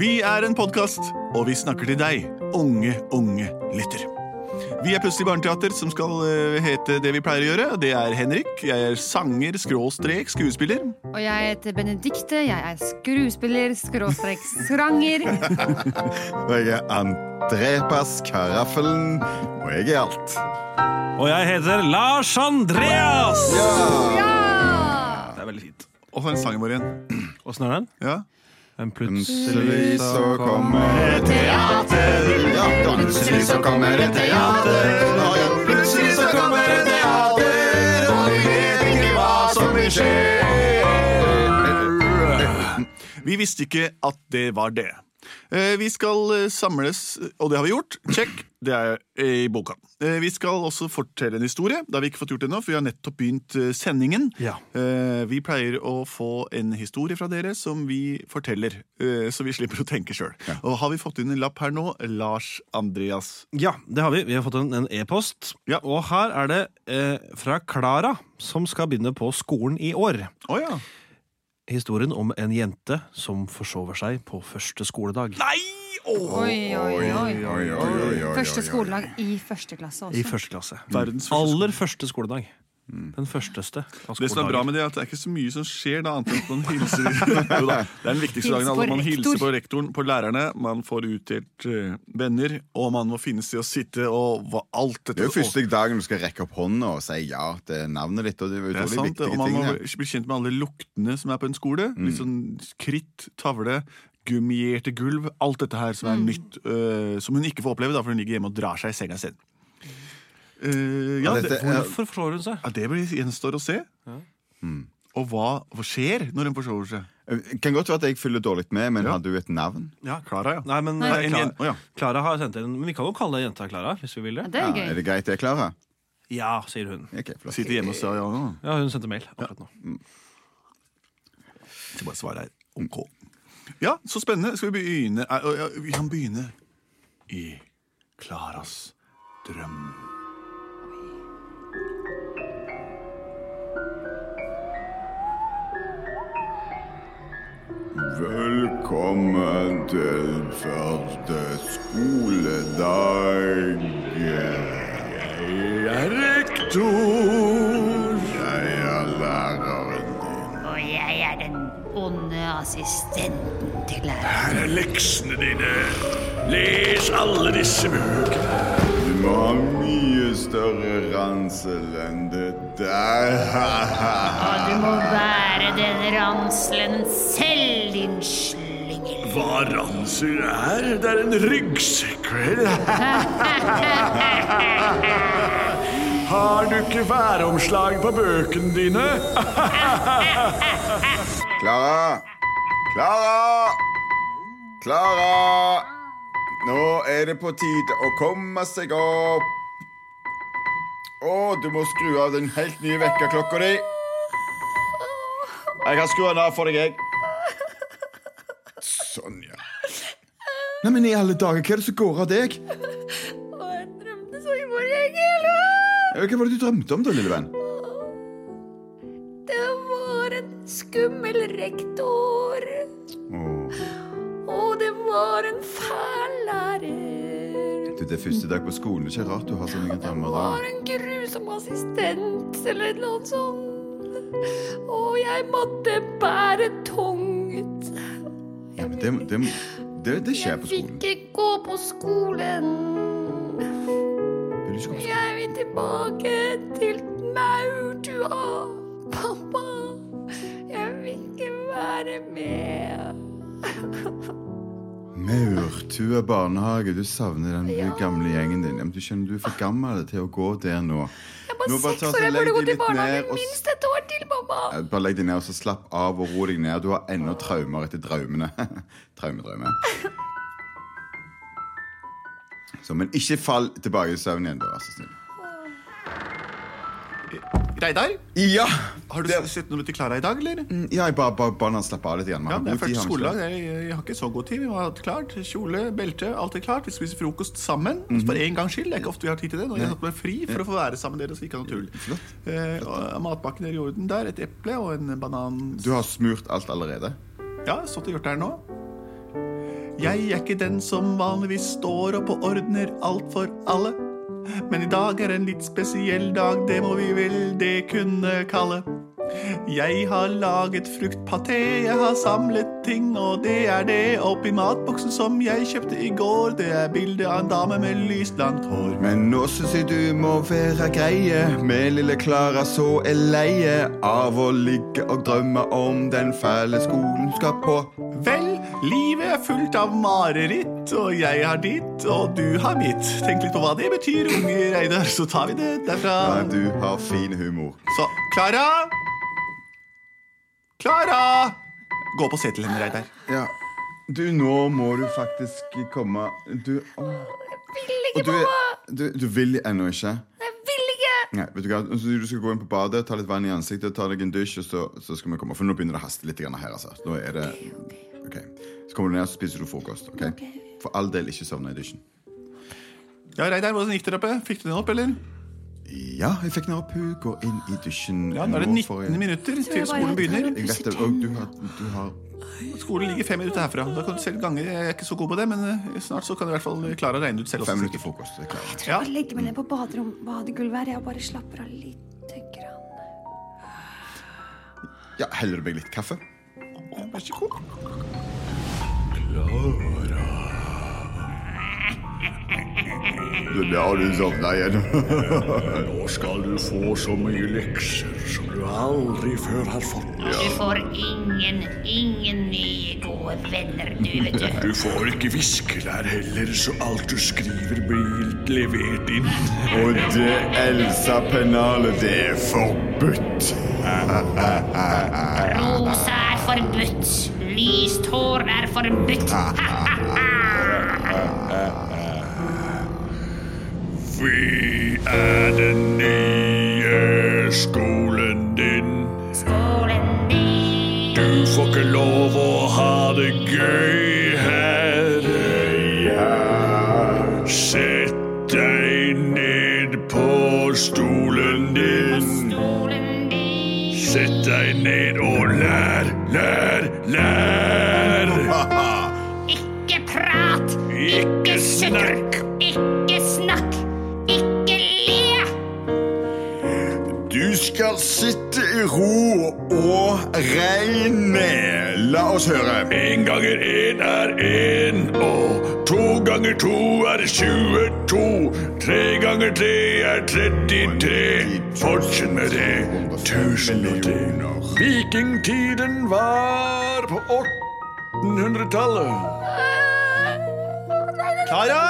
Vi er en podkast, og vi snakker til deg, unge, unge lytter. Vi er Plutselig barneteater, som skal eh, hete det vi pleier å gjøre. Det er Henrik. Jeg er sanger, skråstrek, skuespiller. Og jeg heter Benedikte, jeg er skuespiller, skråstrek skranger. Og jeg er Andrepas Karaffelen, og jeg er alt. Og jeg heter Lars Andreas! Ja! Det er veldig fint. Og så er sangen vår igjen. Åssen er den? Ja. En Plutselig plutselig så kommer et teater. Ja, da plutselig så kommer et teater. Ja, ja, plutselig så kommer et teater, og vi vet ikke hva som vil skje. Vi visste ikke at det var det. Eh, Vi skal eh, samles, og det har vi gjort. Check. Det er eh, i boka. Eh, Vi skal også fortelle en historie. Det har vi ikke fått gjort ennå, for vi har nettopp begynt eh, sendingen. Ja. Eh, Vi pleier å få en historie fra dere som vi forteller, eh, så vi slipper å tenke sjøl. Og har vi fått inn en lapp her nå? Lars Andreas. Ja, det har vi. Vi har fått en en e-post. Ja. Og her er det eh, fra Klara, som skal begynne på skolen i år. Å ja. Historien om en jente som forsover seg på første skoledag. Oi, oi, oi. Oi, oi, oi, oi, Første oi, oi. skoledag i første klasse I også. første klasse. Verdens første Aller første Mm. skoledag. Den førsteste av Det som er bra skoledager. med det, er at det er ikke så mye som skjer, da, annet enn at man hilser Jo da, Det er den viktigste dagen. Hils av på alle. Man rektor. hilser på rektoren, på lærerne, man får utdelt eh, venner, og man må finne seg å sitte og hva, alt dette Det er jo første dagen du skal rekke opp hånda og si ja til navnet ditt. Og det er Det er utrolig sant, og viktige man ting. må ja. bli kjent med alle luktene som er på en skole. Mm. Litt sånn kritt, tavle, gummierte gulv. Alt dette her som er nytt, øh, som hun ikke får oppleve, da, for hun ligger hjemme og drar seg i senga sin. Eh, ja, Og det, dette er- Hvorfor forsover hun seg? ja, det blir, gjenstår å se. Mm. Og hva, hva skjer når hun forsover seg? Eh, Kan godt være at jeg følger dårlig med, men har du et navn? Ja, Klara, ja. Nei, men Nei. eh, en jen- Å, ja. Klara har sendt en Men vi kan jo kalle jenta Klara, hvis vi vil Ja, det. Det Ja, er er gøy. det greit, det, Klara? Ja, sier hun. Ok, flott. Sitter hjemme og sier ja. ja. Ja, hun sendte mail akkurat nå. Så bare svar her. OK. Ja, så spennende. Skal vi begynne eh, ja, Vi kan begynne i Klaras drøm. Velkommen til første skoledag. Jeg er rektor. Jeg er læreren din. Og jeg er den onde assistenten til læreren. Her er leksene dine. Les alle disse bøkene. Du må ha mye større ransel enn det der. Og du må bære den ranselen selv, din slyngel. Hva ransel er? Det er en ryggsekk, vel? Har du ikke væromslag på bøkene dine? Klara! Klara! Klara! Nå er det på tide å komme seg opp. Å, du må skru av den helt nye vekkerklokka di. Jeg kan skru den av for deg, jeg. Sånn, ja. Nei, men i alle dager, hva er det som går av deg? Å, jeg drømte så i morgen, Gelo! Hva var det du drømte om, da, lille venn? Det var en skummel rektor. Åh, Og det var en fæl lærer. du, det er første dag på skolen. Det er ikke rart du har så mange drømmer da. var en grusom assistent eller noe sånt. Og jeg måtte bære tungt. Ja, men det, det, det, det skjer på skolen. Fikk ikke gå på skolen. Vil du ikke gå på skolen? Jeg vil tilbake til maurtua. Pappa, jeg vil ikke være med. Maurtua barnehage, du savner den gamle gjengen din. Ja, Men du skjønner, du er for gammel til å gå der nå. Jeg var Nå bare seks ta så år, jeg legg burde gå deg til litt ned barnehagen og s- minst et år til, mamma. Eh, Bare legg deg ned og så slapp av og ro deg ned. Du har ennå traumer etter traumene. Traumedrømme. Så, men ikke fall tilbake i søvn igjen, da, vær så snill. Reidar, Ja! har du Det- sett noe til Klara i dag, eller? Ja, jeg bare, bare, bare slapp av litt igjen. Vi Ja, har det er god tid, første har vi ikke skoledag. Jeg, jeg har ikke så god tid. Vi har alt klart. Kjole, belte, alt er klart. Vi spiser frokost sammen. For en gangs skyld. Det er ikke ofte vi har tid til det. Nå har jeg tatt meg fri for å få være sammen med dere, så ikke ha noe tull. Eh, og matpakken er i orden der. Et eple og en banan det? Du har smurt alt allerede? Ja, stått og gjort det her nå. Jeg er ikke den som vanligvis står opp og ordner alt for alle. Men i dag er en litt spesiell dag, det må vi vel det kunne kalle. Jeg har laget fruktpaté, jeg har samlet ting, og det er det. Oppi matboksen som jeg kjøpte i går, det er bilde av en dame med lyst langt hår. Men nå syns jeg du må være greie med lille Klara, så er leie av å ligge og drømme om den fæle skolen hun skal på. Vel, livet er fullt av mareritt, og jeg har ditt, og du har mitt. Tenk litt på hva det betyr, unger Eidar, så tar vi det derfra. Ja, du har fin humor. Så, Klara! Klara! Gå på og se til henne, Reidar. Ja. Du, nå må du faktisk komme Du, åh. Vil Og ikke, du, er- mamma! du, du vil ennå ikke? Jeg vil ikke! Nei, vet Du hva? Altså, du skal gå inn på badet, ta litt vann i ansiktet, ta deg en dusj, og så, så skal vi komme. For nå begynner det å haste litt grann her. altså. Nå er det... Ok. Så kommer du ned og spiser du frokost. ok? For all del, ikke sovne i dusjen. Ja, Reidar, hvordan gikk dere oppe? Fikk du den opp, eller? Ja, jeg fikk den opp. Hun går inn i dusjen. Ja, Nå er det Nå får 19 jeg- minutter til jeg bare skolen tar begynner. en- Jeg vet det, og du har, du har Skolen ligger fem minutter herfra. Da kan du selv gange. Jeg er ikke så god på det, men eh, snart så kan du i hvert fall klare å regne ut selv. også, fem minutter sikkert. frokost. Det er klart. Ja. Jeg legger meg ned på baderom, badegulvet her. Jeg bare slapper av lite grann. Ja, Heller du meg litt kaffe? Vær så god. Ja, du sånn, sovna igjen. Nå skal du få så mye lekser som du aldri før har fått. Du får ingen, ingen nye gode venner, du vet du. Du får ikke viskelær heller, så alt du skriver blir levert inn. Og det Elsa-pennalet, det er forbudt. Rosa er forbudt. Lyst hår er forbudt. Vi er den nye skolen din. Skålen din. Du får ikke lov å ha det gøy her. Sett deg ned på stolen din. Stolen din. Sett deg ned og lær, lær, lær. Ikke prat. Ikke Sutter. snakk. Ikke snakk. Ikke le. Du skal sitte i ro og regne. La oss høre. En ganger en er en, og to ganger to er 22. Tre ganger tre er 33. Fortsett med det. Tusen og det. Vikingtiden var på 1800-tallet. Klara!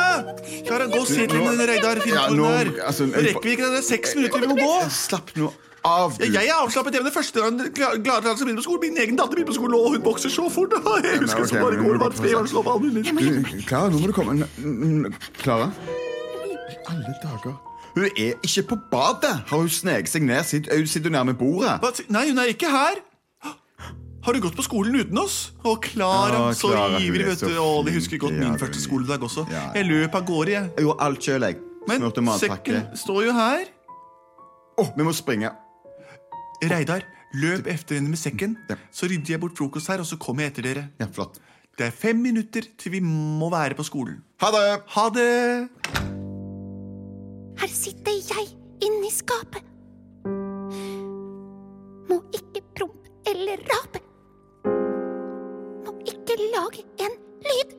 Klara, gå og se til henne, Reidar. Finn Ja, hvor nå- den er. altså, Eh, Nå rekker vi ikke det. Det er seks minutter. Vi må gå. Slapp nå av, du. Ja, Jeg er avslappet. Jeg er den første kla- klare til å begynne på skolen. Min egen datter begynner på skolen, og hun vokser så fort. Jeg men husker ok, så bare men går det nå må du var gå på- treårslov og alt mulig. Du, Klara, nå må du komme. N- n- Klara? I alle dager. Hun er ikke på badet. Har hun sneket seg ned? Sitter hun sitter nærme bordet? Hva si- Nei, hun er ikke her. Har du gått på skolen uten oss? Å, Klara, Å, så Clara, hun ivrig, er vet så du. Å, de husker flink. godt Ja, min det er første hun. skoledag også. Ja, ja. Jeg løp av gårde, jeg. Jeg gjorde alt sjøl, jeg. Men Smurte matpakke. sekken står jo her. Å, vi må springe. Reidar, løp etter henne med sekken. Ja. Så rydder jeg bort frokost her, og så kommer jeg etter dere. Ja, flott. Det er fem minutter til vi må være på skolen. Ha det! Ha det! Her sitter jeg inni skapet. Må ikke prompe eller rape. Må ikke lage en lyd.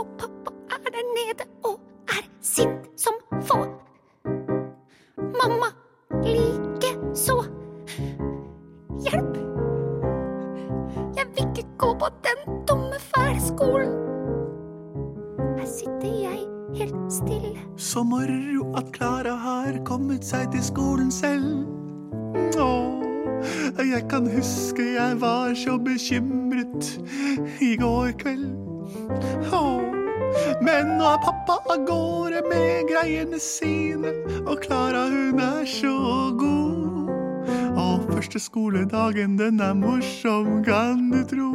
Og pappa er der nede og er sint som få. Mamma like så. Hjelp! Jeg vil ikke gå på den dumme fæle skolen. Her sitter jeg helt stille. Så moro at Klara har kommet seg til skolen selv. Åh, jeg kan huske jeg var så bekymret i går kveld. Åh, men nå er pappa av gårde med greiene sine, og Klara hun er så god. Og første skoledagen den er morsom, kan du tro.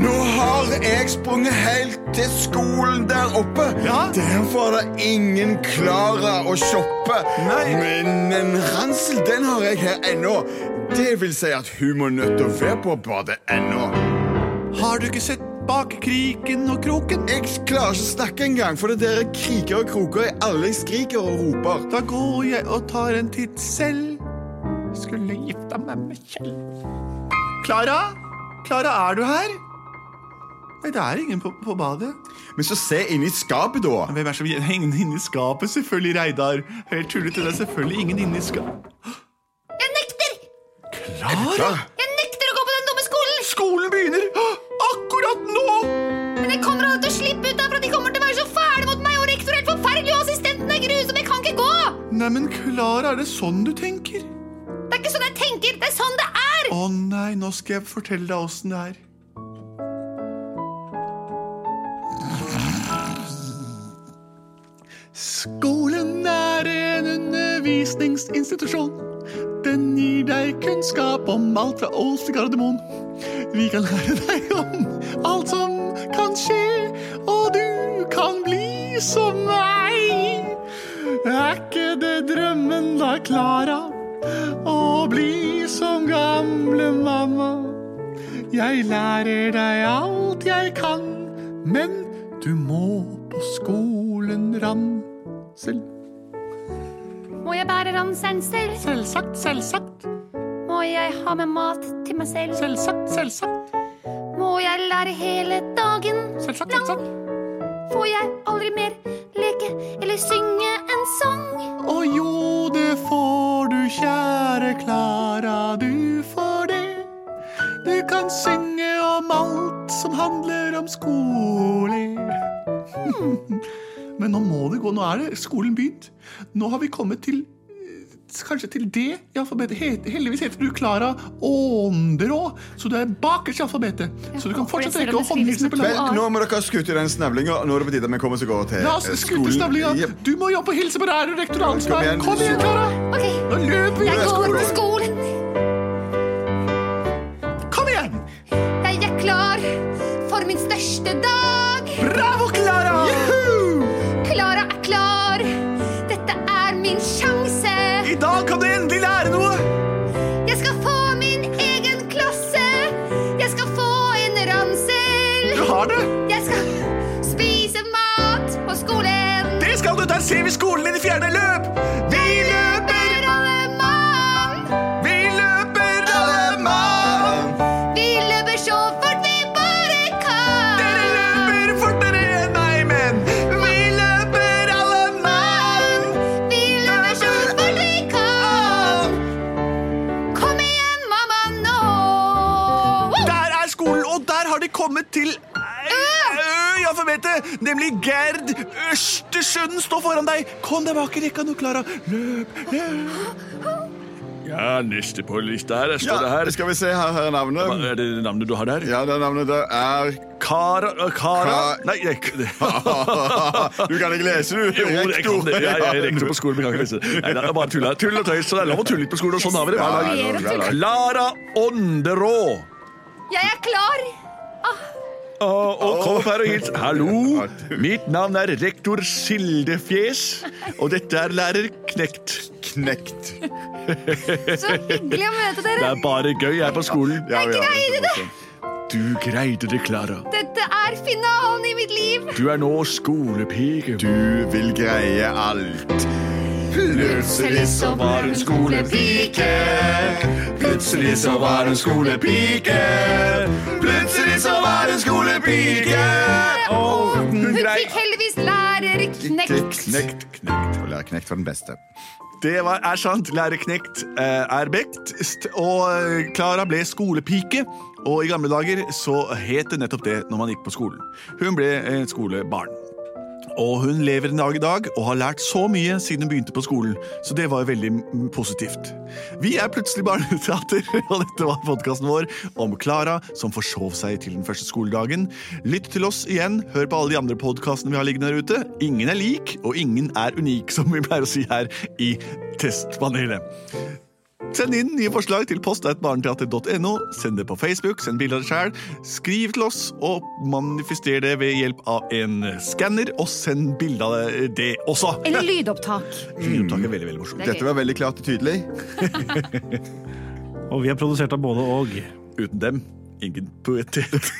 Nå har jeg sprunget helt til skolen der oppe. Ja. Derfor er det ingen klarer å shoppe. Nei. Men en ransel, den har jeg her ennå. Det vil si at hun må nødt til å være på badet ennå. Har du ikke sett bak kriken og kroken? Jeg klarer ikke å snakke engang, for det dere kriker og kroker i alle jeg skriker og roper. Da går jeg og tar en titt selv. Skulle gifta meg med Kjell. Klara? Klara, er du her? Nei, det er ingen på, på badet. Men så se inn i skapet, da. Hvem er som ingen inne i skapet? Selvfølgelig Reidar. Helt tullete. Det er selvfølgelig ingen inne i skapet. Jeg nekter! Klara? Jeg nekter å gå på den dumme skolen! Skolen begynner akkurat nå! Men jeg kommer aldri til å slippe ut der, for de kommer til å være så fæle mot meg, og rektor er helt forferdelig, og assistenten er grusom, jeg kan ikke gå! Neimen, Klara, er det sånn du tenker? Det er ikke sånn jeg tenker, det er sånn det er! Å nei, nå skal jeg fortelle deg åssen det er. Skolen er en undervisningsinstitusjon. Den gir deg kunnskap om alt fra Ås til Gardermoen. Vi kan lære deg om alt som kan skje, og du kan bli som meg. Er ikke det drømmen da, Klara? Å bli som gamle mamma. Jeg lærer deg alt jeg kan, men du må på skolen, Ransel. Må jeg bære ranseren selv? Selvsagt, selvsagt. Må jeg ha med mat til meg selv? Selvsagt, selvsagt. Må jeg lære hele dagen Selvsagt, lang? selvsagt. Får jeg aldri mer leke eller synge en sang? Å jo, det får du, kjære Klara, du får det. Du kan synge om alt som handler om skole. Men nå må det gå, nå er det skolen begynt. Nå har vi kommet til eh, Kanskje til det i alfabetet. Het- Heldigvis heter du Klara Ånderå, så du er bakerst i alfabetet. Så du kan håper det, fortsatt selv rekke å om det skrives håndhilse med på to læreren. Vel, nå må dere ha skutt i den snavlinga. Nå er det på tide at vi kommer oss av gårde til La oss eh, skutte snavlinga. Jep. Du må jobbe og hilse på læreren og rektor Kom Ansberg. igjen. Kom igjen, Klara! Ok, Nå løper vi! jeg Jeg går går. til skolen. Kom igjen! Jeg er klar for min største dag. Bravo, Klara! Klara er klar. Dette er min sjanse. I dag kan du endelig lære noe! Jeg skal få min egen klasse. Jeg skal få en Du ransel. har det! Jeg skal spise mat på skolen. Det skal du! Der ser vi skolen i det fjerne løp! Vi løper, For alle mann. vi løper, alle mann! Vi løper så fort vi bare kan. Dere løper fortere enn meg, men vi løper, alle mann! Vi løper så fort vi kan. Kom igjen, mamma, nå. Der er skolen, og der har de kommet til eh, Ø i alfabetet, nemlig Gerd Østersund står foran deg. Kom deg bak i rekka nå, Klara. Løp, løp. Ja, neste på lista her. Ja, Står det her? skal vi se her, her er Hva navnet. er det navnet du har der? Ja, det navnet der er Kara, Kara? Ka- Nei, jeg, det- Du kan ikke lese, du. Jo, jeg kan det. Jeg, jeg er rektor på skolen, men jeg kan ikke lese det. Nei, det er bare tull. Tull og tøys. Så det er lov å tulle litt på skolen, og sånn har vi det hver dag. Ja, ja, ja. Klara Ånderå. Jeg er klar. Ah. Og, og kom opp her og hils. Hallo, mitt navn er rektor Sildefjes, og dette er lærer Knekt. Knekt. Så hyggelig å møte Det dere. er bare gøy her på skolen. Ja, ja, greide det. Du greide det, Klara. Dette er finalen i mitt liv. Du er nå skolepike. Du vil greie alt. Plutselig så var hun skolepike. Plutselig så var hun skolepike. Plutselig så var hun skolepike. Og hun grei- fikk heldigvis lærer knekt. Knekt, knekt. Og lærer knekt var den beste. Det var, er sant. Lærerknekt eh, er bekt, st- eh, og Klara ble skolepike. Og i gamle dager så het det nettopp det når man gikk på skolen. Hun ble eh, skolebarn. Og hun lever en dag i dag og har lært så mye siden hun begynte på skolen. Så det var veldig mm, positivt. Vi er plutselig barneteater, og dette var podkasten vår om Klara som forsov seg til den første skoledagen. Lytt til oss igjen, hør på alle de andre podkastene vi har liggende der ute. Ingen er lik, og ingen er unik, som vi pleier å si her i Testpanelet. Send inn nye forslag til post.barneteater.no. Send det på Facebook, send bilde av deg sjæl. Skriv til oss, og manifester det ved hjelp av en skanner. Og send bilde av det også. Eller lydopptak. Lydopptak er veldig, veldig morsomt. Dette var veldig klart og tydelig. Og vi er produsert av både og. Uten dem, ingen poetet.